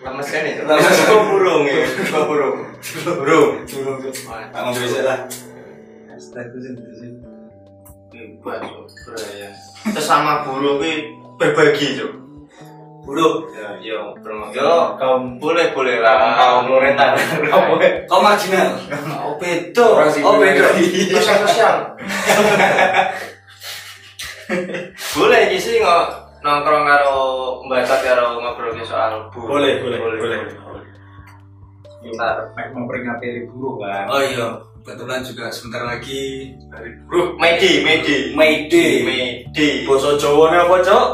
kan itu nama suka burung ya suka burung burung Tangan bisa lah. buat budaya ya. sesama burung ini berbagi tuh Buruk. ya yo kaum boleh boleh lah Kaum loretan. oh boleh Kau marginal. oh bedo Orang sih oh boleh. bedo Iya. sosial sosial boleh iki sih nggak nongkrong karo mbak Tat karo ngobrol iki soal burung Boleh, boleh, boleh. Bentar. Mek memperingati hari buruh kan. Oh iya, kebetulan juga sebentar lagi hari Bro, Medi, Medi, May Day. Medi. Boso Jawa apa, Cok?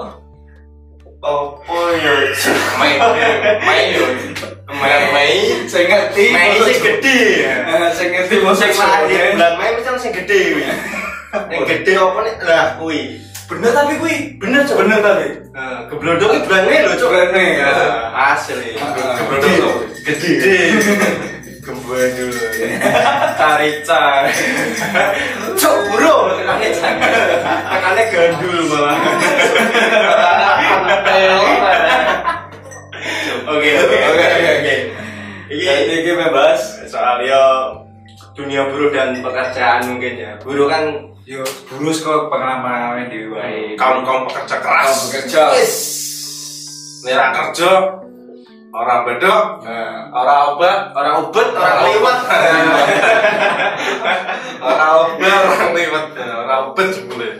Apa ya? Mei, Mei, Mei, Mei. Saya ngerti. Mei Boso Iya, sing Nah, Jawa. gede ya. Eh, Saya ngerti boso Sing lahir Jawa. bulan Mei misal sing gede kuwi. Sing gede apa nih? Lah kuwi. Bener tapi kui. Bener Cuk. Bener tapi. Heeh, geblodok iki bulan Mei lho Cuk. Bulan Mei, ya. Nah, Asli. Ah, Geblodok gede. Cuk. gede. Gembuan dulu. Tarican. Cok, bro. Tekannya jangan. Tekannya gandul malah. Oke, oke, oke, oke, oke. Jadi Nah, Ini ini bebas. soal ya dunia buruh dan pekerjaan mungkin ya. Buruh kan Yo buruh kok pengalaman di E. wae. kaum kaum pekerja Kaum keras bekerja. orang kerja orang bedok Nah, orang obat orang ubet, orang lewat. orang obat orang lewat orang obat boleh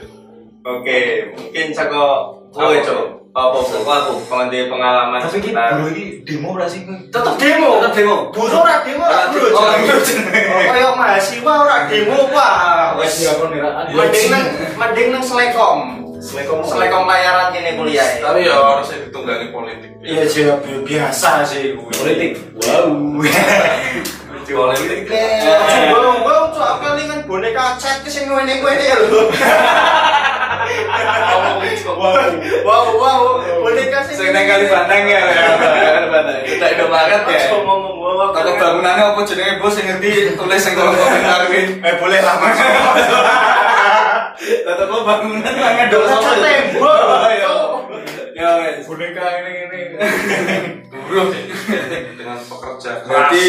Oke, mungkin sako kowe Apa? cok. Apa apa aku kondi pengalaman Tapi ini sekitar- buruh ini demo ora sih? tetep demo. Tetep demo. Buruh ora demo ora Ora buruh. demo, ora buruh. Kayak mahasiswa ora demo wah. Wes ya, koniraan. mending nang mending nang selekom. Selekom. Selekom layaran kene kuliah. e. ya. tapi ya harusnya ditunggangi politik Iya sih bi- biasa sih gue. Politik. Wow. politik Bang, bang, tuh apa nih kan boneka cat ke sing ngene kowe iki lho. Wow, wow, boneka sing Saya naik kali bandang ya. Kali bandang. Kita udah banget ya. Aja ngomong wow. Kalau bangunannya apa jenenge bos yang ngerti tulis yang kolom komentar win. eh boleh lah Mas. Tetep kok bangunan banget dong Boneka sama. tembok. Ya. Ya wes. Boneka ini ini. buruh ya. dengan pekerja keras Berarti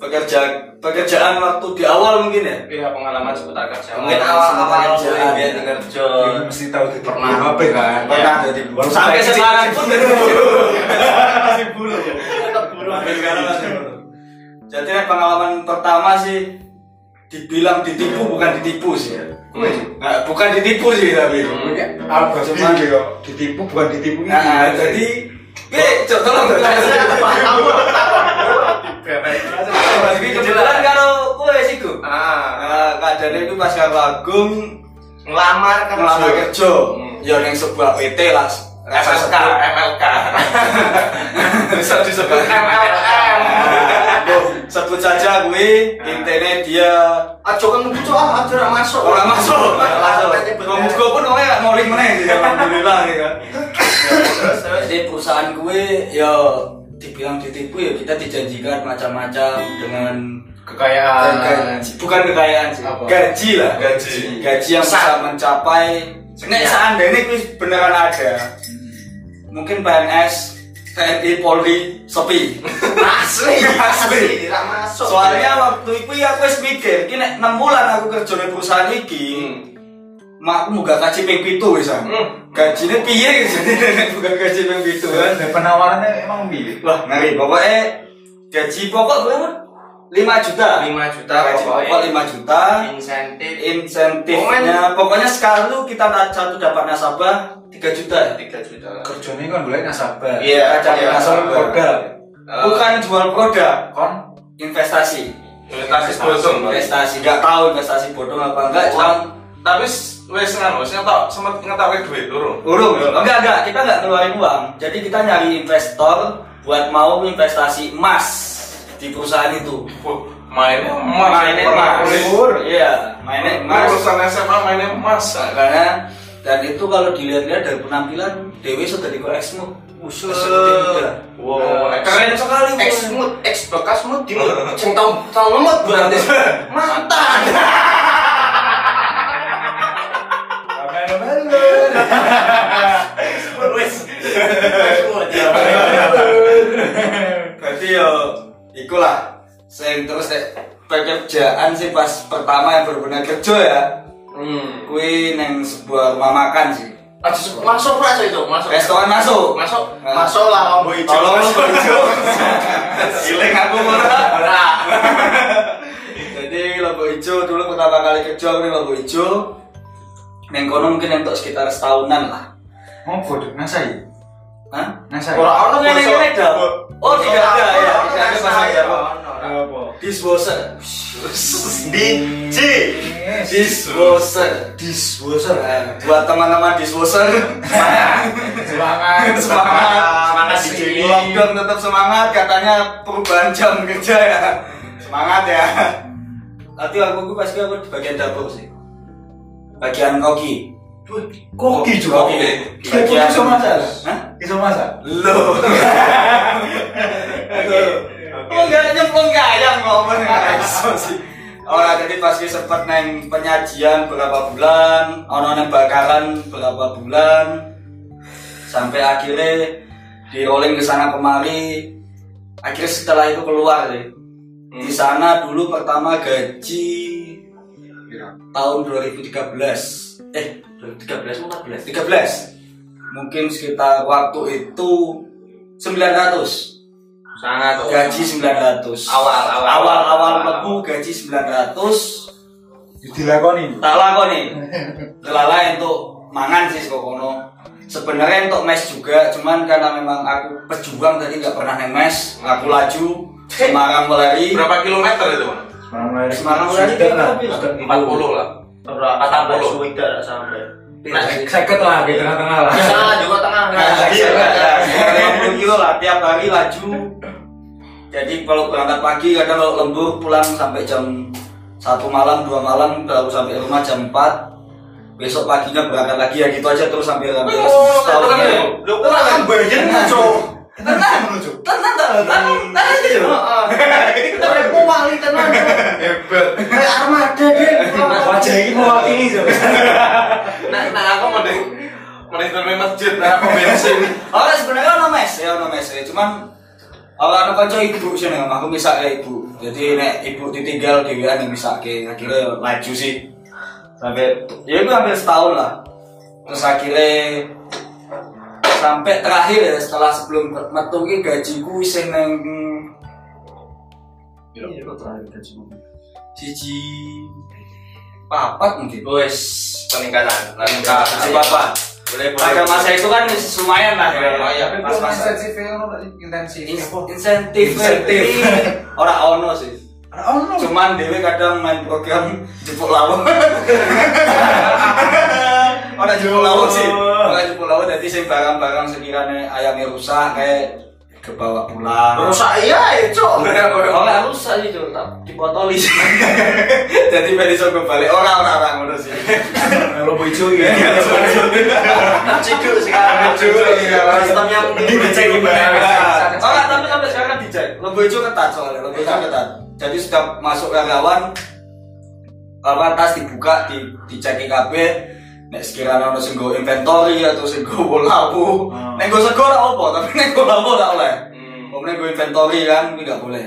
pekerja pekerjaan waktu di awal mungkin ya. Iya pengalaman seputar kerja. Mungkin awal-awal kerjaan. Iya. biar kerja. Ini mesti tahu di Pernah. ya? apa kan? Pernah jadi baru Sampai saya- sekarang pun dari dulu. masih buruh. Tetep buruh. Sampai sekarang masih dulu. Jadi nek pengalaman pertama sih dibilang ditipu bukan ditipu sih ya. Nah, bukan ditipu sih tapi. Apa sih? Cuman- yo. Ditipu bukan ditipu ini. Nah, jadi Eh, Cok, tolong Tapi kebetulan kalau kowe sih Gu. Ah, Nah, keadaannya itu pas karo Agung ngelamar kan ngelamar kerja. Hmm. Ya ning sebuah PT lah. MLK MLK bisa disebut MLM. Aduh, sebut saja gue intinya dia Aja kan butuh ah, aja ora masuk. orang masuk Langsung. ngomong gue pun orangnya nggak mau ring meneh sih alhamdulillah ya kan Terus, terus. jadi perusahaan gue ya dibilang ditipu ya kita dijanjikan macam-macam dengan Kekayaan. gaji. bukan kekayaan sih Apa? gaji lah Gaji. gaji yang bisa mencapai nek seandainya gue beneran ada mungkin PNS TNI Polri sepi Asli, Asli. asli, tidak masuk. soalnya waktu itu ya aku wis mikir ini nek 6 bulan aku kerja di perusahaan iki mak aku muga gaji ping pitu wis ah. Hmm. gajine piye jadi nek muga gaji ping pitu kan Dan penawarannya emang milih. wah ngeri pokoknya gaji pokok berapa 5 juta 5 juta gaji pokok 5 juta insentif insentifnya pokoknya sekali lu kita na- satu dapat nasabah 3 juta 3 juta. Kerjanya kan boleh nasabah. Iya, Kita dapat iya. nasabah Eh, Modal. bukan jual produk Kon investasi investasi bodong investasi nggak tahu investasi bodong apa enggak cuma tapi s- wes nganu wes ngetok sempat ngetahui duit turun Urung, enggak enggak, kita enggak ngeluarin uang. Jadi kita nyari investor buat mau investasi emas di perusahaan itu. mainnya emas Mainnya emas. Iya, mainnya Mas. emas. Urusan SMA mainnya emas Karena dan itu kalau dilihat-lihat dari penampilan Dewi sudah dikoreksi mu. Usul. Eksekutif muda. Wow, Keren sekali. Ex Bu. mood, ex bekas mood di mood. Sing tau tau lemot berarti. Mantan. Wes. sing terus nek pekerjaan sih pas pertama yang berbeda kerja ya Hmm. kui neng sebuah rumah makan sih Langsung masuk rasa itu, masuk. restoran masuk Masuk, Nah. masuk lah ngombo hijau. tolong lu kerja Giling aku murah Ora. jadi logo hijau dulu pertama kali kerja aku ning logo hijau neng kono mungkin untuk sekitar setahunan lah Ngopo dek nasai? Hah? Nasai. Ora ono ngene-ngene Bosok. dah. Oh, tidak ada ya, tidak ada bahasa bahasa Jawa. disposer Di C. disposer Disposer. buat teman-teman disposer Semangat. semangat Semangat di Ini lockdown tetap semangat katanya perubahan jam kerja ya semangat ya tapi aku aku pasti aku di bagian dapur sih bagian koki Koki juga. koki Koki iso masak. Hah? Iso masak. lo oh nggak nyempung nggak ayam ngomong nggak iso sih Orang jadi pasti sempat neng penyajian berapa bulan, ono neng bakaran berapa bulan, sampai akhirnya di rolling ke sana kemari. Akhirnya setelah itu keluar sih. Di sana dulu pertama gaji tahun 2013. Eh, 13 14. 13 mungkin sekitar waktu itu 900 Sangat tuh. gaji Awal, 900 awal. awal awal Awal. mlebu gaji 900 Dilakoni. tak lah nih telalai untuk mangan sih kok kono sebenarnya untuk mes juga cuman karena memang aku pejuang tadi nggak pernah neng mes aku laju Semarang Meleri Berapa kilometer itu, Bang? Semarang Meleri berapa bilang? 40 lah. Ora tambah suwida sampai. Nah, seket lah di tengah-tengah lah. Bisa juga tengah. Nah, iya, iya. 50 kilo lah tiap hari laju. Jadi kalau berangkat pagi kadang kalau lembur pulang sampai jam satu malam dua malam baru sampai rumah jam 4 besok paginya berangkat lagi ya gitu aja terus sampai sampai Oh, ya. setahunnya. Lu kan bayar ngaco. Tenang menuju. Tenang tak lo, tenang, tenang aja lo. Kita repo wali tenan. Kayak armada deh. Wajah ini mewakili Jo. Nah, nah aku mending mending ke masjid, nah aku bensin. Orang sebenarnya ono mes, ya ono mes, ya. cuman orang ono kanca ibu sih nih, aku misake ibu. Jadi nek ibu ditinggal dhewean yang misake, akhirnya laju sih. Sampai ya itu hampir setahun lah. Terus akhirnya sampai terakhir ya setelah sebelum metu ki gajiku sing nang Iya, terakhir gajiku. Siji papat mungkin. Wes peningkatan. Nah, siji papat. Boleh Oh, Pada masa itu kan lumayan lah ya. Lumayan. Pas-pasan. intensif. In- insentif insentif ora ono sih Oh no. cuman dewe kadang main program jepuk lawang ora jepuk lawang sih Oh. Oh. ora jepuk lawang jadi sing barang-barang sekiranya ayamnya rusak kayak kebawa pulang Rusak iya, cok. Oleh Oleh rusak itu tak dipotoli. jadi ben iso balik ora ora ora ngono sih Iya, Lobo hijau ya. Ciduk sekarang. Ciduk, iya. Sistemnya mending dicek Ora, tapi sampai sekarang kan dijek. Lembu hijau ketat soalnya, lembu hijau ketat. Jadi setiap masuk relawan apa tas dibuka, di dicek KB. Nek sekiranya ono sing nggo inventory atau sing nggo labu. Hmm. Nek nggo sego ora apa, tapi nek nggo labu ora oleh. Wong nek nggo inventory kan kuwi gak boleh.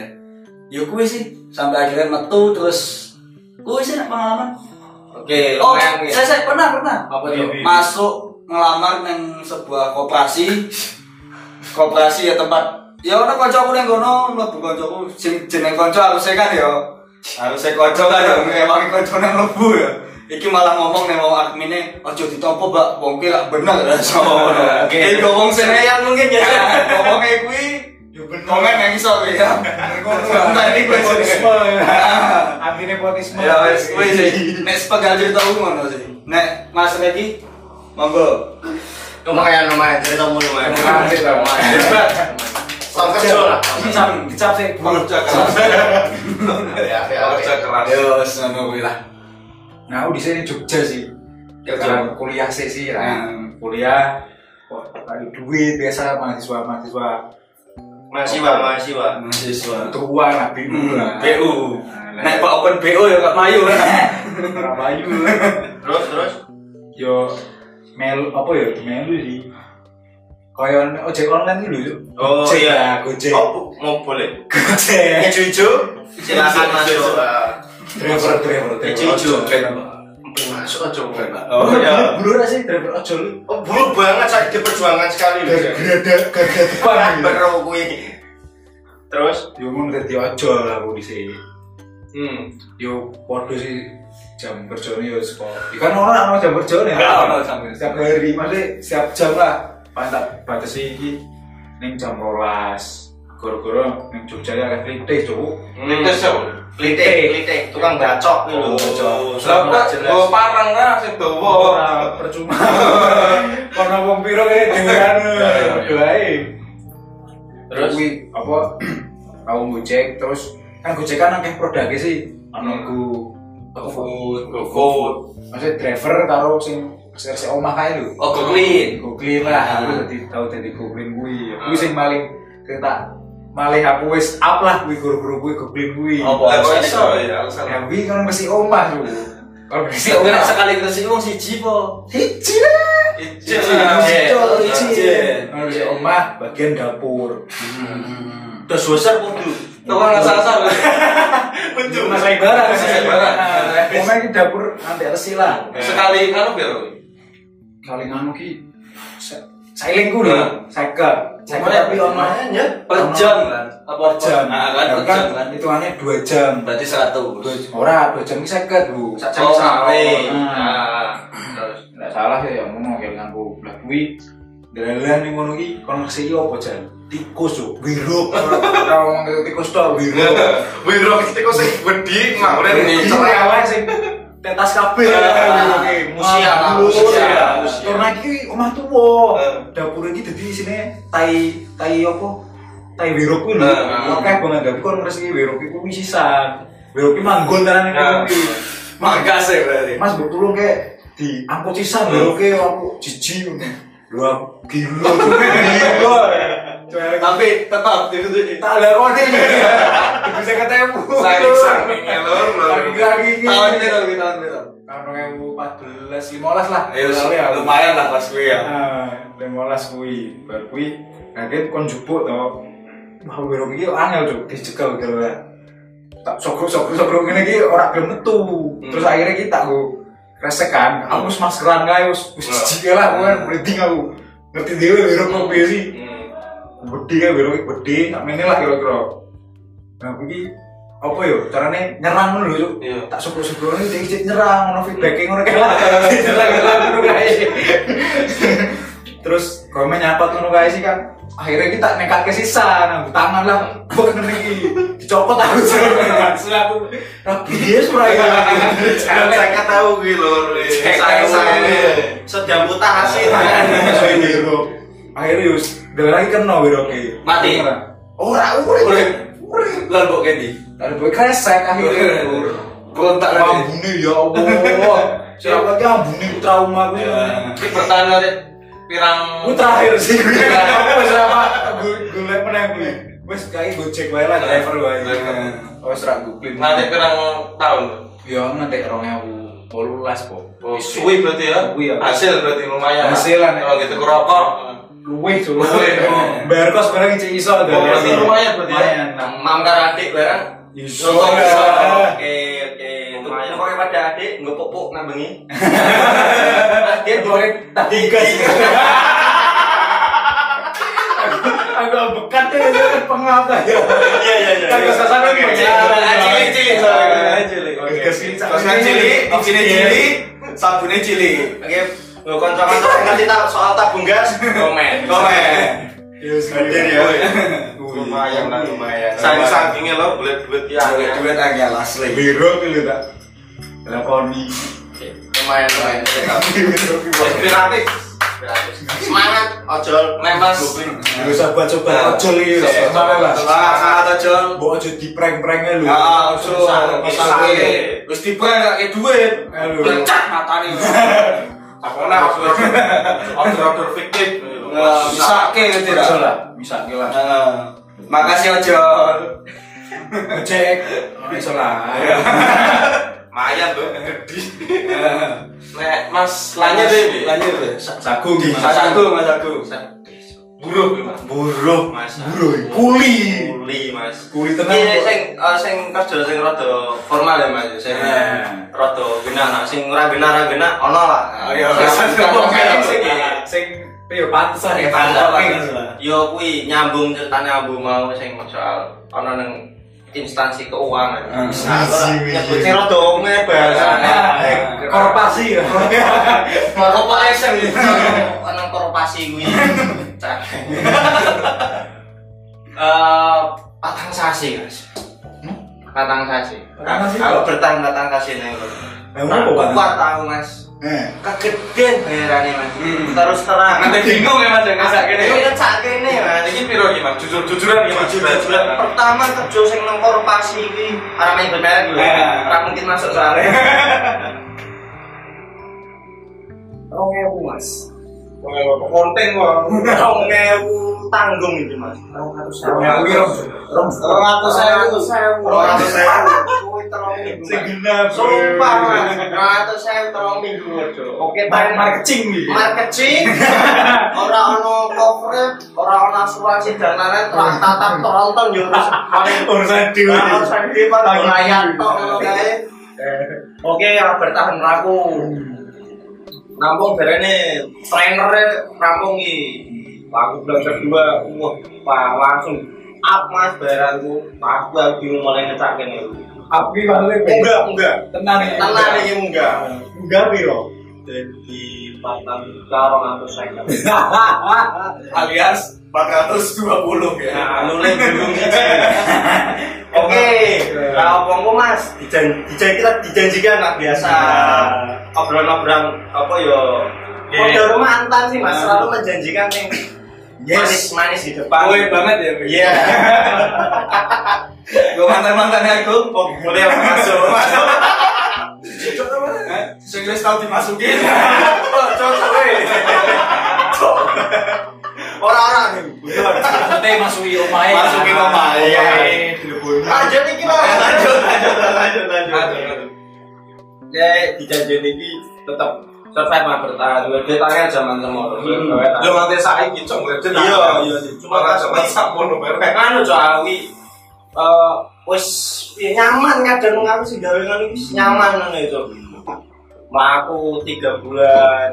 Ya kuwi sih sampai akhirnya metu terus kuwi sih nek pengalaman. Oke, Oh, lumayan ya. saya, saya pernah, pernah Apa tuh? masuk ngelamar neng sebuah koperasi koperasi ya tempat ya orang konco aku neng kono mlebu koncoku sing jeneng konco harusnya kan ya harusnya konco kan ya ngewangi konco neng mlebu ya iki malah ngomong neng mau adminnya ojo ditopo mbak wong ki gak bener lah so Oke. Nah, eh ngomong senayan mungkin ya ngomongnya kuwi Ya bener. komen yang iso kuwi ya Tadi gue Nepotisme. Anti nepotisme. ya wes kuwi sih nek sepegal cerita aku ngono sih nek mas Regi monggo Lumayan, lumayan. Ceritamu lumayan. Lumayan, lumayan. Hebat. Sam kerja lah. kecap kecap sih Kerja keras. kan? Kerja keras. yo sama gue lah Nah, aku di sini Jogja sih. Kerja. Karena kuliah sih sih, lah. Hmm. kuliah. Kok ada duit biasa mahasiswa mahasiswa Mahasiswa, mahasiswa. mahasiswa Nah. tua lah bingung lah. BU Hmm, Nah, nek pak open BU ya gak mayu Nah, Rabayu. Terus, terus. Yo melu apa ya melu sih. Koyon ojek online dulu yuk. Oh Gojek iya. ya, Gojek. Oh bu- mau boleh. Gojek. Keju hijau silakan masuk. eh. Driver driver Keju hijau. Masuk aja gue nak. Oh Oh ya. Blur aja driver ojol. lu. Oh buru banget saya diperjuangkan sekali loh. ya. Gak ada gak ada depan. Parah baru gue. Terus? Yo mau dadi ojol aku di sini. Hmm. Yo podo sih jam kerjanya yo sekolah. Kan orang orang jam kerjanya. Nggak Nggak ono ono. jam kerja. Setiap hari maksudnya setiap jam lah. Pantak batas iki ning jam 12. Goro-goro ning Jogja ya kritik cuk. Ini kesel. Klitik, klitik, tukang bacok gitu loh. Oh, Sudah Lah, pernah jelas. Gue parang lah, sing bawa. Ora percuma. Kono wong piro e, kene dhewean. Doae. Terus? Kuwi apa aku ngojek terus kan gojek kan akeh produknya sih. Ono go GoFood, GoFood. Maksudnya driver karo sing versi omah kae lho. Oh, Goklin. Goklin lah, aku tadi tahu tadi Goklin kuwi. Ya, Kuwi sing paling kita malah aku wis up lah kuwi guru-guru kuwi Goklin kuwi. Apa? Lah, kok iso ya, alasan. Ya kuwi kan mesti omah lho. Kalau mesti Kira omah. sekali ke sini wong siji po. Hiji lah. Ijin Iya, lah. Col, Ijin. izin. Harus di omah bagian dapur. Hmm. Terus besar kudu. Tukang ngasal-ngasal. Betul. Mas lebaran, Mas lebaran. Omah ini dapur nanti resi lah. Sekali kan biar. Kali nganu anu ki. Saya lingku dong. Seket. Nah. Seket Omahnya- tapi omahnya ya. Per jam kan? Apa per jam. Nah, kan per Ya jam Kan kan. hitungannya dua jam. Berarti 100. Dua- Ora dua jam ini seket bu. Sak jam Oh, sore. nah. Nah, terus. Nggak salah ya yang ngomong kayak nganggu Lah kuwi dalan ning ngono iki konversi iki opo iya jan? Tikus yo, wiruk. Ora ngomong kayak tikus tok wiruk. Wiro kita kok sing wedi ngawren Ini cerai awal sing tetas kabeh. iya. musia lah, musia, musia. Karena iki omah tuwa. Eh. Dapur iki dadi isine tai tai opo? Tai wiruk kuwi lho. Eh. Akeh banget tapi kon ngresi wiruk iki kuwi sisan. Wiruk iki manggon tenan iki. Eh. kuwi. Magas ya berarti. Mas mbok tulung kek diangkut sisan wiruk e aku jijik ngono. Lho aku gila tuh gila. Cewek Tapi tetap itu tak ada kode ini. Bisa ketemu. saking saking lor lor. Lagi-lagi ini. tahun itu tahun itu. tahun 2014 15 lah Ya Lalu ya, lumayan lah pas gue ya. Ah, 15 kuwi bar kuwi kaget kon jupuk to wah wiro iki angel cuk dijegal gitu ya tak sogro sogro sogro ngene iki ora gelem metu Hmm. terus akhirnya kita tak go kresek kan aku wis maskeran kae wis wis Hmm. jijik lah aku kan merinding aku ngerti dhewe wiro kok piye sih Hmm. gede kan wiro iki gede tak mene lah kira-kira nah kuwi apa yo carane nyerang ngono lho cuk Iya. tak syukur syukur ini dia cek nyerang ngono feedbacknya ngono kayak lah nyerang nyerang ngono kayak terus komen nyapa ngono kayak sih kan akhirnya kita nekat ke sisa nanggu tangan lah buat ngeri dicopot aku suruh aku rapi dia surah ya Dan saya tahu gue lor. Cek, Saya saya. cek. Sedang mutasi. Iya. akhirnya yus gak lagi kena wiro ke Mati. ora urip urip Lalu kok ganti? ada boy kresek akhirnya Kontak lagi. ambune ya Allah siapa lagi ambune trauma gue Ya. Ini pertanyaan dari pirang. Gue terakhir sih gue Gue sama Gue gue liat menang gue Gue sekali gue cek wae lah driver wae Iya. Driver. Oh serak gue klip Nanti pirang tahun. Ya nanti orangnya gue Polulas po Oh, suwi berarti ya? Suwi, ya. Hasil berarti lumayan. Hasilan, ya. Kalau gitu kerokok. Luwe cuma Luwe, oh. Bayar kos barang cek iso ada. berarti lumayan berarti ya? Lumayan, nah. Mamkar adik barang. Iso Contoh bisa. lah. Oke, oke. Itu Lumayan. pokoknya pada adik nggak popok nambengi. Dia boleh Tak digas Agak bekat ya, dia kan pengap ya. Iya, iya, iya. Kan kesasar kan Cili, pengap. cili, cili. Ah, Iya, Oke, kesini, Kosnya cili, izinnya cili, sabunnya cili. Oke, gue kontra-kontra nanti tak soal tabung gas komen. Komen. Ya, Hadir sekalian ya. Lumayan lah, lumayan. Saking sakingnya lor, boleh duit ya. Duit duit aja asli. Biro gitu tak. Lakoni. Lumayan, lumayan. Inspiratif. Semangat, ojol. Nemas. Gak usah buat coba ojol iki. Terus, Sampai lah. Wah, kata John. Mbok ojo diprank-pranknya lho. Ya, usul, Bisa, pesan gue. iya. Terus tiba nggak kayak duit. Halo. Pecah matanya. Aku nak. Order-order fiktif. Nah, Bisa ke tidak? Ojol lah, misal lah. Nah, Makasih John. Cek. Iso lah. Lumayan tuh. Nah, Mas, lanjut deh. Lanjut deh. Sagu gimana? Mas Agung, Mas Agung. buruh mas buruh mas Buruh, kuli. kuli mas Kuli tenang, iya kok. sing eh, sing kerja sing rada formal ya mas sing Nah. rada genah nah sing ora genah ora genah ono lah Nah, Oh, iya. sing sing yo panser ya Panser, panser. yo kuwi nyambung ceritane ambu mau sing soal ono nang instansi Hmm. keuangan Wiji, wiji. nyebutnya rada ngebahasane Iya. Korporasi ya. corporation iya, nang korporasi kuwi Cak. Eh patang sasi guys patang sasi Patang sasi aku kok? bertahan patang sasi nih Nah, apa, Pak? kuat tahu mas Eh. kegedean bayarannya mas Hmm. terus terang nanti bingung ya mas yang ngasak gini ini kan sak kene mas ini piro iki mas jujur jujuran iki mas Bulan pertama kerja sing nang korporasi iki arah main bermerek lho. Eh. Ora mungkin masuk soalnya. Rong ewu mas. konten kok Rong ewu tanggung itu mas. Rong atus ewu. Ya kuwi rom. Rom. Orang aku saya Rong atus ewu. Kuwi telung minggu, Sing Mas. genap. Sumpah mas. Rong atus ewu telung minggu. Mas. Oke Main paling marketing iki. marketing ora ono coverage ora ono asuransi dan lain-lain telah tatap tronton yo terus paling Urusan dhewe. harus sakit paling Tangi. layan tok ngono kae oke ya bertahan aku nampung berene trainernya nampung iki aku bulan kedua wah wah, langsung up mas bayaranku aku lagi mulai ngecak kene Api balik. enggak enggak Tenang ya. iki. tenang iki enggak Enggak piro. jadi patang karong aku saya alias 420 ya. Nah, mulai belum Oke, nah omongku mas, dijan, dijan kita dijanjikan lah biasa Iya. obrolan-obrolan apa yo. Iya. Kode rumah antan sih mas, selalu menjanjikan yang manis-manis di depan. kue banget ya Mas. Iya, Gue mantan mantannya aku. Oh, boleh masuk. Masuk. Eh, Sing wis tau dimasukin. Orang-orang nih. Kita masuki omae. Masuki omahe. Iya. Lanjut nih kita. Lanjut, lanjut, lanjut, Aduh, lanjut. aduh. Ya, dijanjikan ini tetap survive mah bertahan dia tangan zaman semua Hmm. lu nanti saiki cong kerja Iya, iya. ya, cuma kan zaman samono merek anu jawi eh wis ya nyaman kadang aku sih gawe ngono iki wis nyaman ngono itu. Mlaku 3 bulan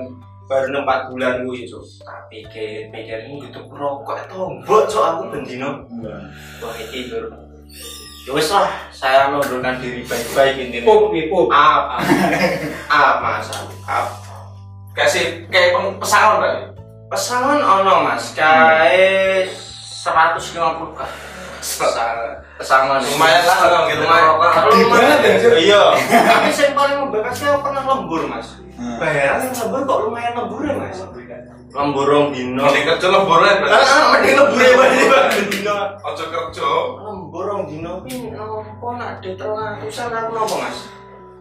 baru 4 bulan kuwi itu. Tak pikir pikir ini itu rokok tombok cok aku bendino. Wah iki lur. Ya wis lah, saya mengundurkan diri baik-baik ini. Pup iki pup. Apa? Apa mas? Apa? kasih kayak peng- pesangon kan Pesangon ono mas, kae 150 kah. Pesangon Lumayan lah, kalau gitu, merokok. Terlalu Gede banget ya, Cuk? Iya. Tapi yang paling membekasnya aku pernah lembur mas. Bayaran yang lembur kok lumayan lembur ya mas. Lembur rong dino. mending kerja lo boleh Ah, ah, Mending lembur ya mas dibanding dino. ojo kerja Lembur rong dino pin nopo Hmm, nak di teratusan aku nopo mas.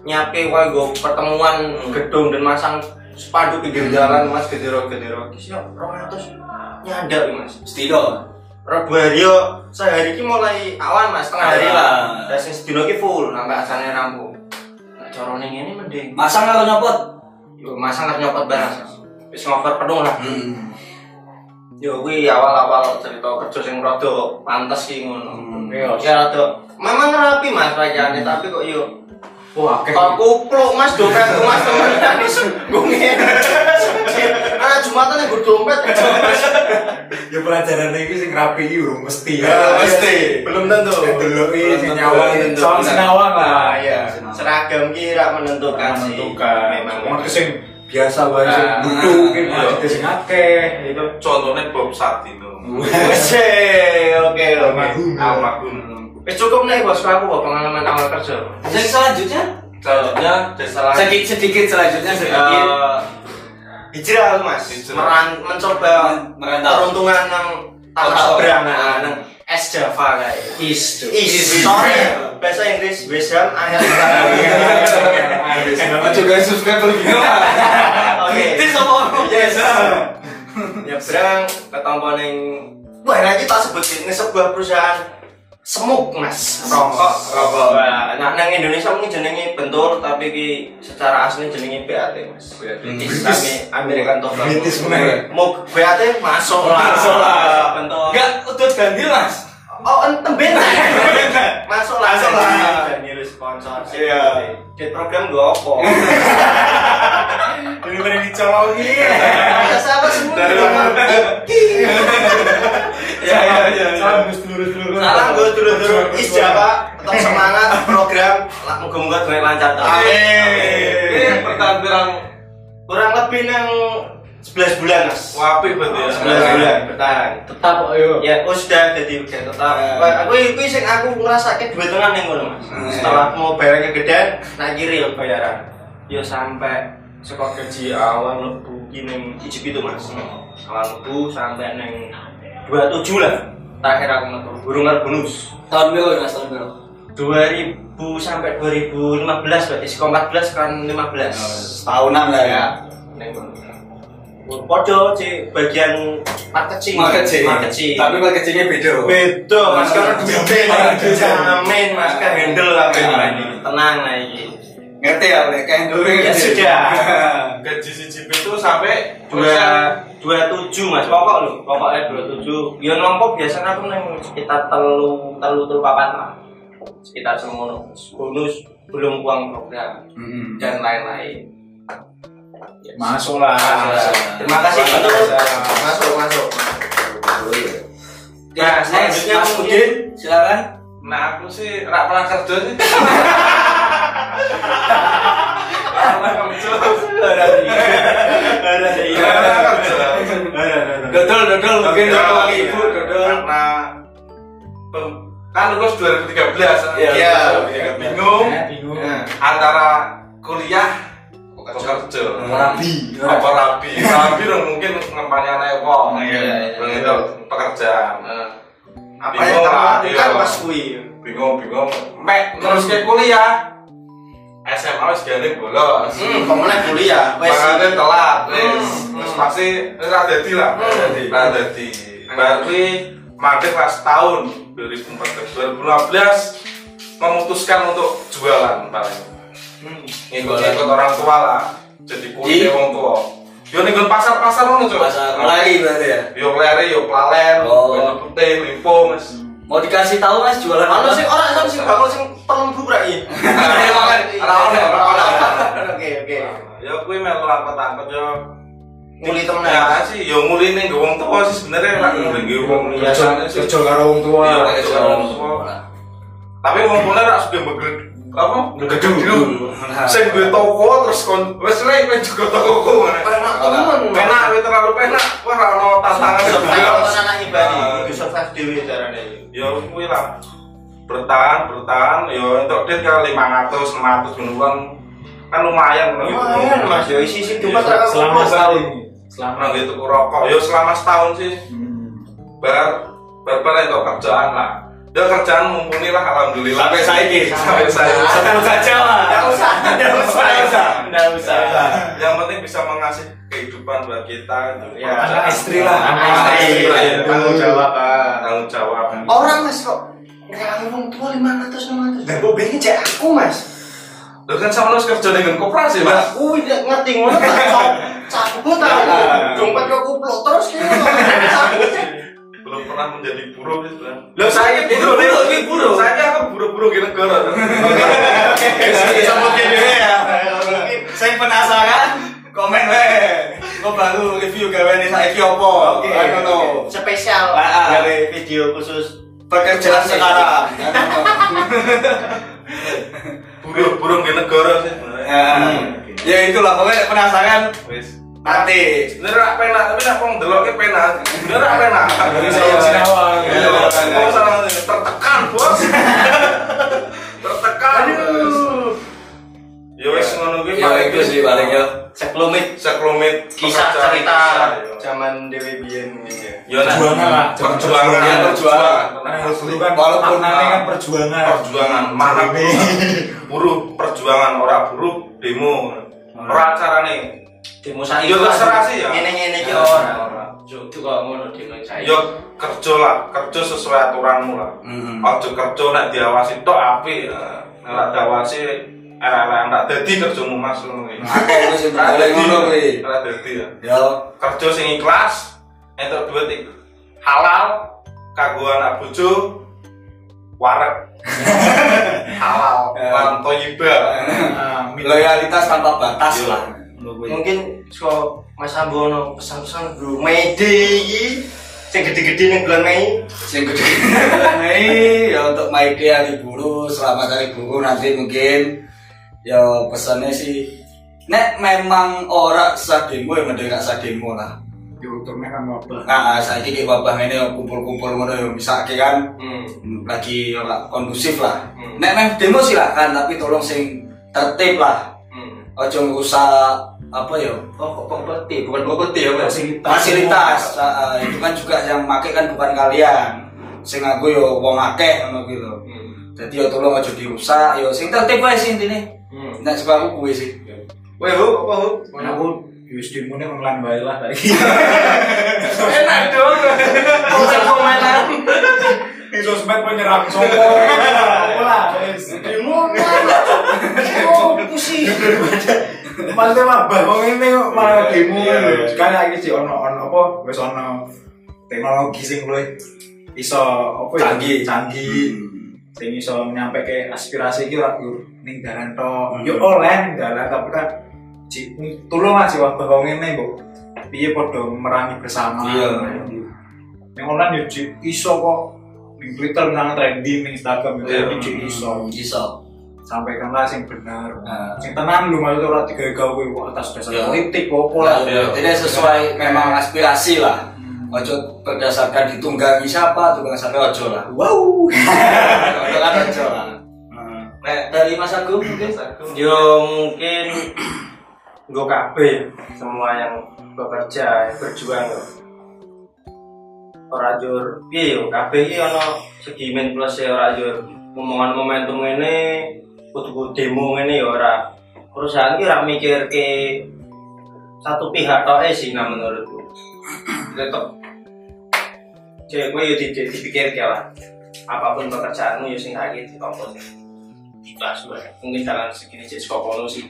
Nyape wae go pertemuan gedung dan masang spanduk pinggir jalan mas gedero-gedero. Siap 200 nyandak ya, mas. Stilo. Rabu hari yo sehari ki mulai awan mas setengah hari Ah. lah. Dan sing sedina ki full sampai asane rampung. Nah, carane ngene mending Masang kalau nyopot. yo masang arep nyopot barang. Wis ngover penuh lah. Hmm. Yo kuwi awal-awal cerita kerja sing rada pantes ki ngono. Hmm. Yo ya rada memang rapi mas rajane tapi kok yo Wah, akeh. Kok kupluk mas dompet mas temen aku sembungi. Nah Jumatan yang gue dompet. Ya pelajaran iki sing rapi iki urung Eh, mesti. Iya, belum tentu. Delok iki Belum tentu, Ah, sing nyawang belum tentu. soal sinawang lah. Kan Iya. Seragam kira menentukan sih. menentukan. Memang. Ono sing biasa wae sing Nah. duduk mungkin Iya. ada sing akeh gitu. contohnya Bob Satino Wes, oke oke. Almarhum. almarhum Wis cukup nih bosku aku bawa pengalaman awal kerja. Yang selanjutnya? Oh. selanjutnya desa lagi Sedikit sedikit selanjutnya sedikit. Eh, Hijrah aku mas. Hijrah. Meran- mencoba Merantau. peruntungan nang Kota tanah Obrang. seberang nang es Java kayak. Is. Is, sorry, bahasa Inggris, Wisdom, Ayat juga subscribe lagi Oke. Tis apa? Yes. Nyebrang ketompo ning Wah, nanti tak sebutin ini sebuah perusahaan semuk mas rokok Rokok. Wah, nah nang Indonesia mungkin jenenge bentur tapi ki secara asli jenenge BAT mas Oh, British. Islami American Tobacco British bener ya? mau BAT masuk lah Masuk lah. bentur Enggak, udah ganti mas. oh entem Bener. benar masuk lah Masuk lah. dan nyuruh sponsor Iya. di program gue apa daripada dicolokin siapa semua Dari mana? Ya Iya, ya ya. salam gus lurus lurus salam gue dulu dulu ijabah tetap semangat program lah moga-moga duit lancar tau Ini pertampilan kurang lebih nang 11 bulan mas wapik berarti ya. 11 bulan bertahan tetap ayo ya aku sudah jadi ujian tetap Wah, aku itu sing aku ngerasake dua tengah ning ngono mas setelah mau bayarnya gede nak kiri yo bayaran yo sampai sekolah gaji awal lebu ki ning ijib itu mas Hmm. awal lebu sampai ning 27 lah terakhir aku lebu burung bonus Tahun biru mas tahun biru. 2000 sampai 2015 berarti sekolah 14 kan 15 Setahunan lah ya. Neng kono. Podo sih bagian marketing. Marketing. Marketing. Tapi marketingnya beda. beda mas karena duitnya Karena mas duitnya. jamin mas kan handle lah Ben. Nah. Tenang lah ini. Ngerti ya, Lek? kayak dulu Ya gitu. sudah. Gaji si JP itu sampai Dua dua tujuh mas pokok lu pokoknya dua tujuh. Ya nompo biasanya aku neng sekitar telu telu telu papat lah sekitar semono bonus belum uang program Hmm. dan lain-lain. Ya, masuk Ya, lah Ah, Terima kasih untuk masuk masuk. Oke, Nah, next, selanjutnya Mas mungkin- Udin, silakan. Nah aku sih rak perang kerja sih. Perang kerja. Ada Perang kerja. Dodol, dodol, mungkin Iya. dodol ibu, dodol. Karena Nah, pem- kan lulus 2013 Iya. Iya. bingung bingung Iya. antara kuliah bekerja Hmm. rabi apa rabi rabi dong mungkin ngempanya naik wong Iya, iya, Belum iya. itu pekerjaan Apa Bingung yang kamu lah, lakukan iya. mas Kui? bingung bingung mek terus ke kuliah SMA wis gale bolos Hmm, kamu naik ya? kuliah, wes. makanya telat wis Hmm, terus hmm. pasti wis ra dadi lah Hmm. dadi ra dadi berarti mandek pas tahun 2014 2015 memutuskan untuk jualan paling ngikut ikut orang tua lah jadi Di? kuliah wong tua yo nih pasar pasar ngono coba Mas, lari berarti ya. yo lere yo plalen Oh. yo putih limpo mas Mau dikasih tahu mas jualan Anu apa? sing orang anu sing bakul sing telung bubur iki. kan. Iya. Ora ono, ora ono. Oke, oke. Ya kuwi melu angkot-angkot yo. Nguli temen Ya sih yo nguli ning nggo wong tuwa sih sebenarnya lah nguli nggo wong kerja tuwa. sih. kerja karo wong tua Iya, Pakai kerja jualan. wong tua. Tapi wong tuwa ora sudah beged apa? Begedul. Nah. Sing duwe toko terus kon wis rek kowe juga tokoku ngene. Penak temen. Penak kowe terlalu penak. Wah ora ono tantangan Kayak sebelas. anak ibadi, Nah. itu survive dhewe carane. Ya kuwi lah. Bertahan, bertahan yo entuk dit kali 500, 600 menuan kan lumayan kan. Lumayan Iya, Mas, Ya, yo isi-isi cuma tak selama setahun selama Nah, gitu rokok. Yo selama setahun sih bar bar bar itu kerjaan lah. Ya kerjaan mumpuni lah alhamdulillah. Sampai saiki. Sampai saiki. Sampai luka Jawa. Enggak usah, enggak usah. Nggak usah. Enggak usah. Yang penting bisa mengasih kehidupan buat kita itu. Ya, anak istri lah Anak istri. lah, ya. Tanggung jawab. ah. Tanggung jawab. Orang Mas kok ngelangi wong tua 500 600. Lah kok bengi cek aku Mas. Lo kan sama harus kerja dengan koperasi, Mbak. Kuwi nek ngerti ngono tak cok- cabut ta. Dompet kok kuplok terus ki. Cabut. Belum pernah menjadi buruh gitu kan. Loh, Eh, saya ini buruh, ini buruh. Saya aku buruh-buruh di negara. Bisa mungkin dulu ya. Saya penasaran. Komen we. Kok baru review gawe ini saya opo? Oke. Ayo no. Spesial Ah. gawe video khusus Pekerjaan sekarang. Buruh-buruh di negara sih sebenarnya. Ya. Ya itulah pokoknya penasaran. Wis. Nanti. Bener penak, tapi nak wong deloknya penak. Bener rak penak. Indonesia yang sinawang Iya, Wong salah ngene, tertekan, Bos. tertekan. Ya wis ngono kuwi paling itu sih paling ya. sekelumit sekelumit kisah cerita pekerjaan kita, ya. zaman Dewi Bian ini. Ya nah, Perjuangan lah. Perjuangan, Ya, perjuangan. kan Walaupun, walaupun kan ah, perjuangan Perjuangan mana Ini. buruh perjuangan ora buruh demo. Ora carane. Demo saya. Ya, terserah sih ya. Ngene ngene iki ora. Jok itu kok ngono di saya. yo kerja lah kerja sesuai aturanmu lah Hmm. ojo kerja nek diawasi tok apik eh. nek gak diawasi era-era ndak dadi kerjamu mas ngono kuwi Akeh wis boleh ngono kuwi. Ora dadi ya Yo, kerja sing ikhlas entuk duit iku halal kanggo anak bojo wareg halal Eh. warung toyiba Amin. loyalitas tanpa batas Yo. lah. Ngono kuwi. Mungkin so Mas Ambono pesan-pesan bro Mede iki sing gede-gede ning bulan Mei. Sing gede. Mei, ya untuk Maiki hari buruh, selamat hari buruh nanti mungkin ya pesannya sih nek memang ora sademo ya mending gak sademo lah. Ya, diuturnya kan wabah Nah, saiki kayak wabah ini ya, kumpul-kumpul ngono ya bisa kan Hmm. lagi ora kondusif lah. Hmm. Nek meh demo silakan tapi tolong sing tertib lah. Hmm. Ojo ngrusak apa ya? Oh, kok properti, bukan properti ya, Mas. Fasilitas. Fasilitas. ah, ah, itu kan juga yang make kan bukan kalian. Sing aku yo wong akeh ngono kuwi lho. Hmm. Jadi yo tolong aja dirusak, yo sing tertib wae sih intine. Hmm. Nek sebab aku kuwi sih. Weh, hu, apa hu? pokoknya aku USD mu ini online baik lah lagi Enak dong. Komentar. di sosmed menyerang sopo apa lah Bingung. Oh, pusing. maksudnya wabah wong ini kok malah demo Iya, iya, iya. sekali lagi sih ono ono apa wis ono teknologi sing luwih iso apa ya Canggih. canggih sing iso nyampe ke aspirasi iki ora yo ning dalan tok Hmm. yo oleh ning dalan tapi kan ji- tulung lah sih wabah wong ngene kok piye padha merangi bersama Iya. ning online yo ji- iso kok ning Twitter misalnya trending ning Instagram yo Iya. trending ji iso Iso. sampaikanlah sing benar Nah. sing tenan lu maksudnya ora digawe kowe kok atas dasar Iya. politik kok apa lah Hmm. Nah, Iya. Jadi sesuai memang aspirasi lah. ojo berdasarkan ditunggangi siapa tunggang sampai ojo lah wow ojo lah ojo lah Nek dari Eh, mas agung mungkin Yo mungkin gue kabeh semua yang bekerja yang berjuang yo. Ora jur piye yo kabeh iki ana segi min plus e ora jur omongan momentum ngene kudu demo ngene yo ora. Perusahaan iki ora mikir ke satu pihak tok e sih nah menurutku. Tetep cewek gue yo dipikir lah apapun pekerjaanmu yo sing lagi ditompok dibahas gue mungkin dalam segini jadi sekolah sih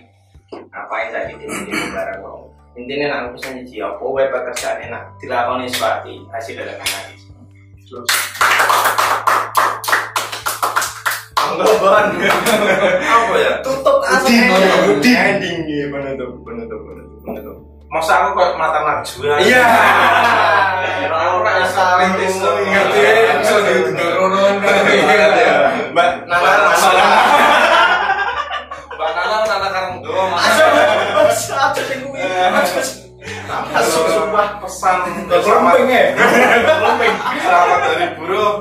ngapain tadi di di barang kok intinya nak aku pesan jadi apa wae pekerjaan enak dilakoni suati hasil dari lagi anggapan. Apa ya? tutup Udin, oh, Udin. ending gimana tuh penutup penutup penutup Masa aku kayak mata najwa. Iya. Ora saling iso ngerti iso diundang. mbak nama masalah Mbak Nana Nana Karang Doa, Mas. satu yang gue masuk Eh. Sumpah pesan kelompeng ya Selamat dari buruh.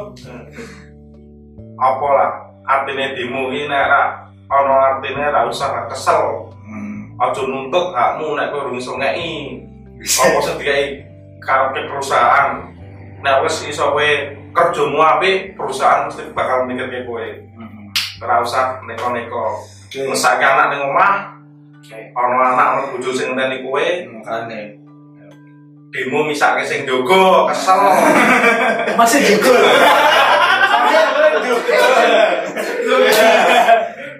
Apa lah artinya demo ini nek ra ono artinya ra usah ra kesel. Aja nuntut hakmu nek kowe urung iso ngeki. Apa sedikai karepe perusahaan. Nek wis iso kowe kerjamu apik, perusahaan mesti bakal mikirke kowe. Ora usah neko-neko. Ngesake anak ning omah, ono anak ono bojo sing ngenteni kowe, makanya demo misake sing njogo, kesel. masih jukul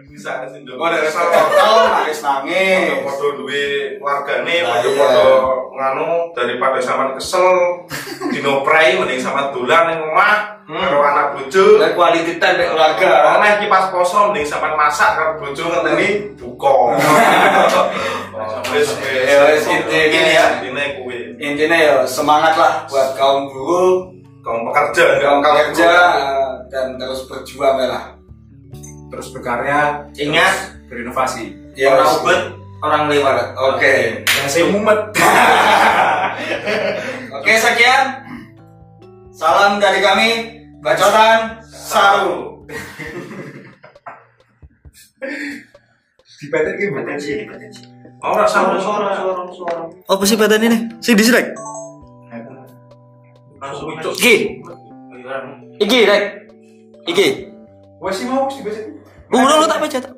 Misake sing njogo. oh dari kesel. protokol nangis nangis podo duwe wargane Nah, podo iya. podo nganu daripada sampean kesel dinoprei mending sama dolan ning omah karo anak bojo dari quality time dari Hmm. keluarga oleh kipas poso mending sampean masak karo bojo ngenteni buka wis Ya, Eh, wis, intinya. gini ya dine kuwi intinya ya semangat lah buat kaum buruh kaum pekerja kaum kerja dan terus berjuang ya lah terus berkarya ingat terus berinovasi ya orang wis. ubet orang lewat oke yang saya mumet oke sekian salam dari kami bacotan saru di PT ini bukan potensi ora suara sama suara ora suara suara apa sih badan ini? Sing disrek? langsung Wicok. Iki, Oh, iya, iki rek. Iki. wes sih mau sih biasa Udah lu tak baca tak?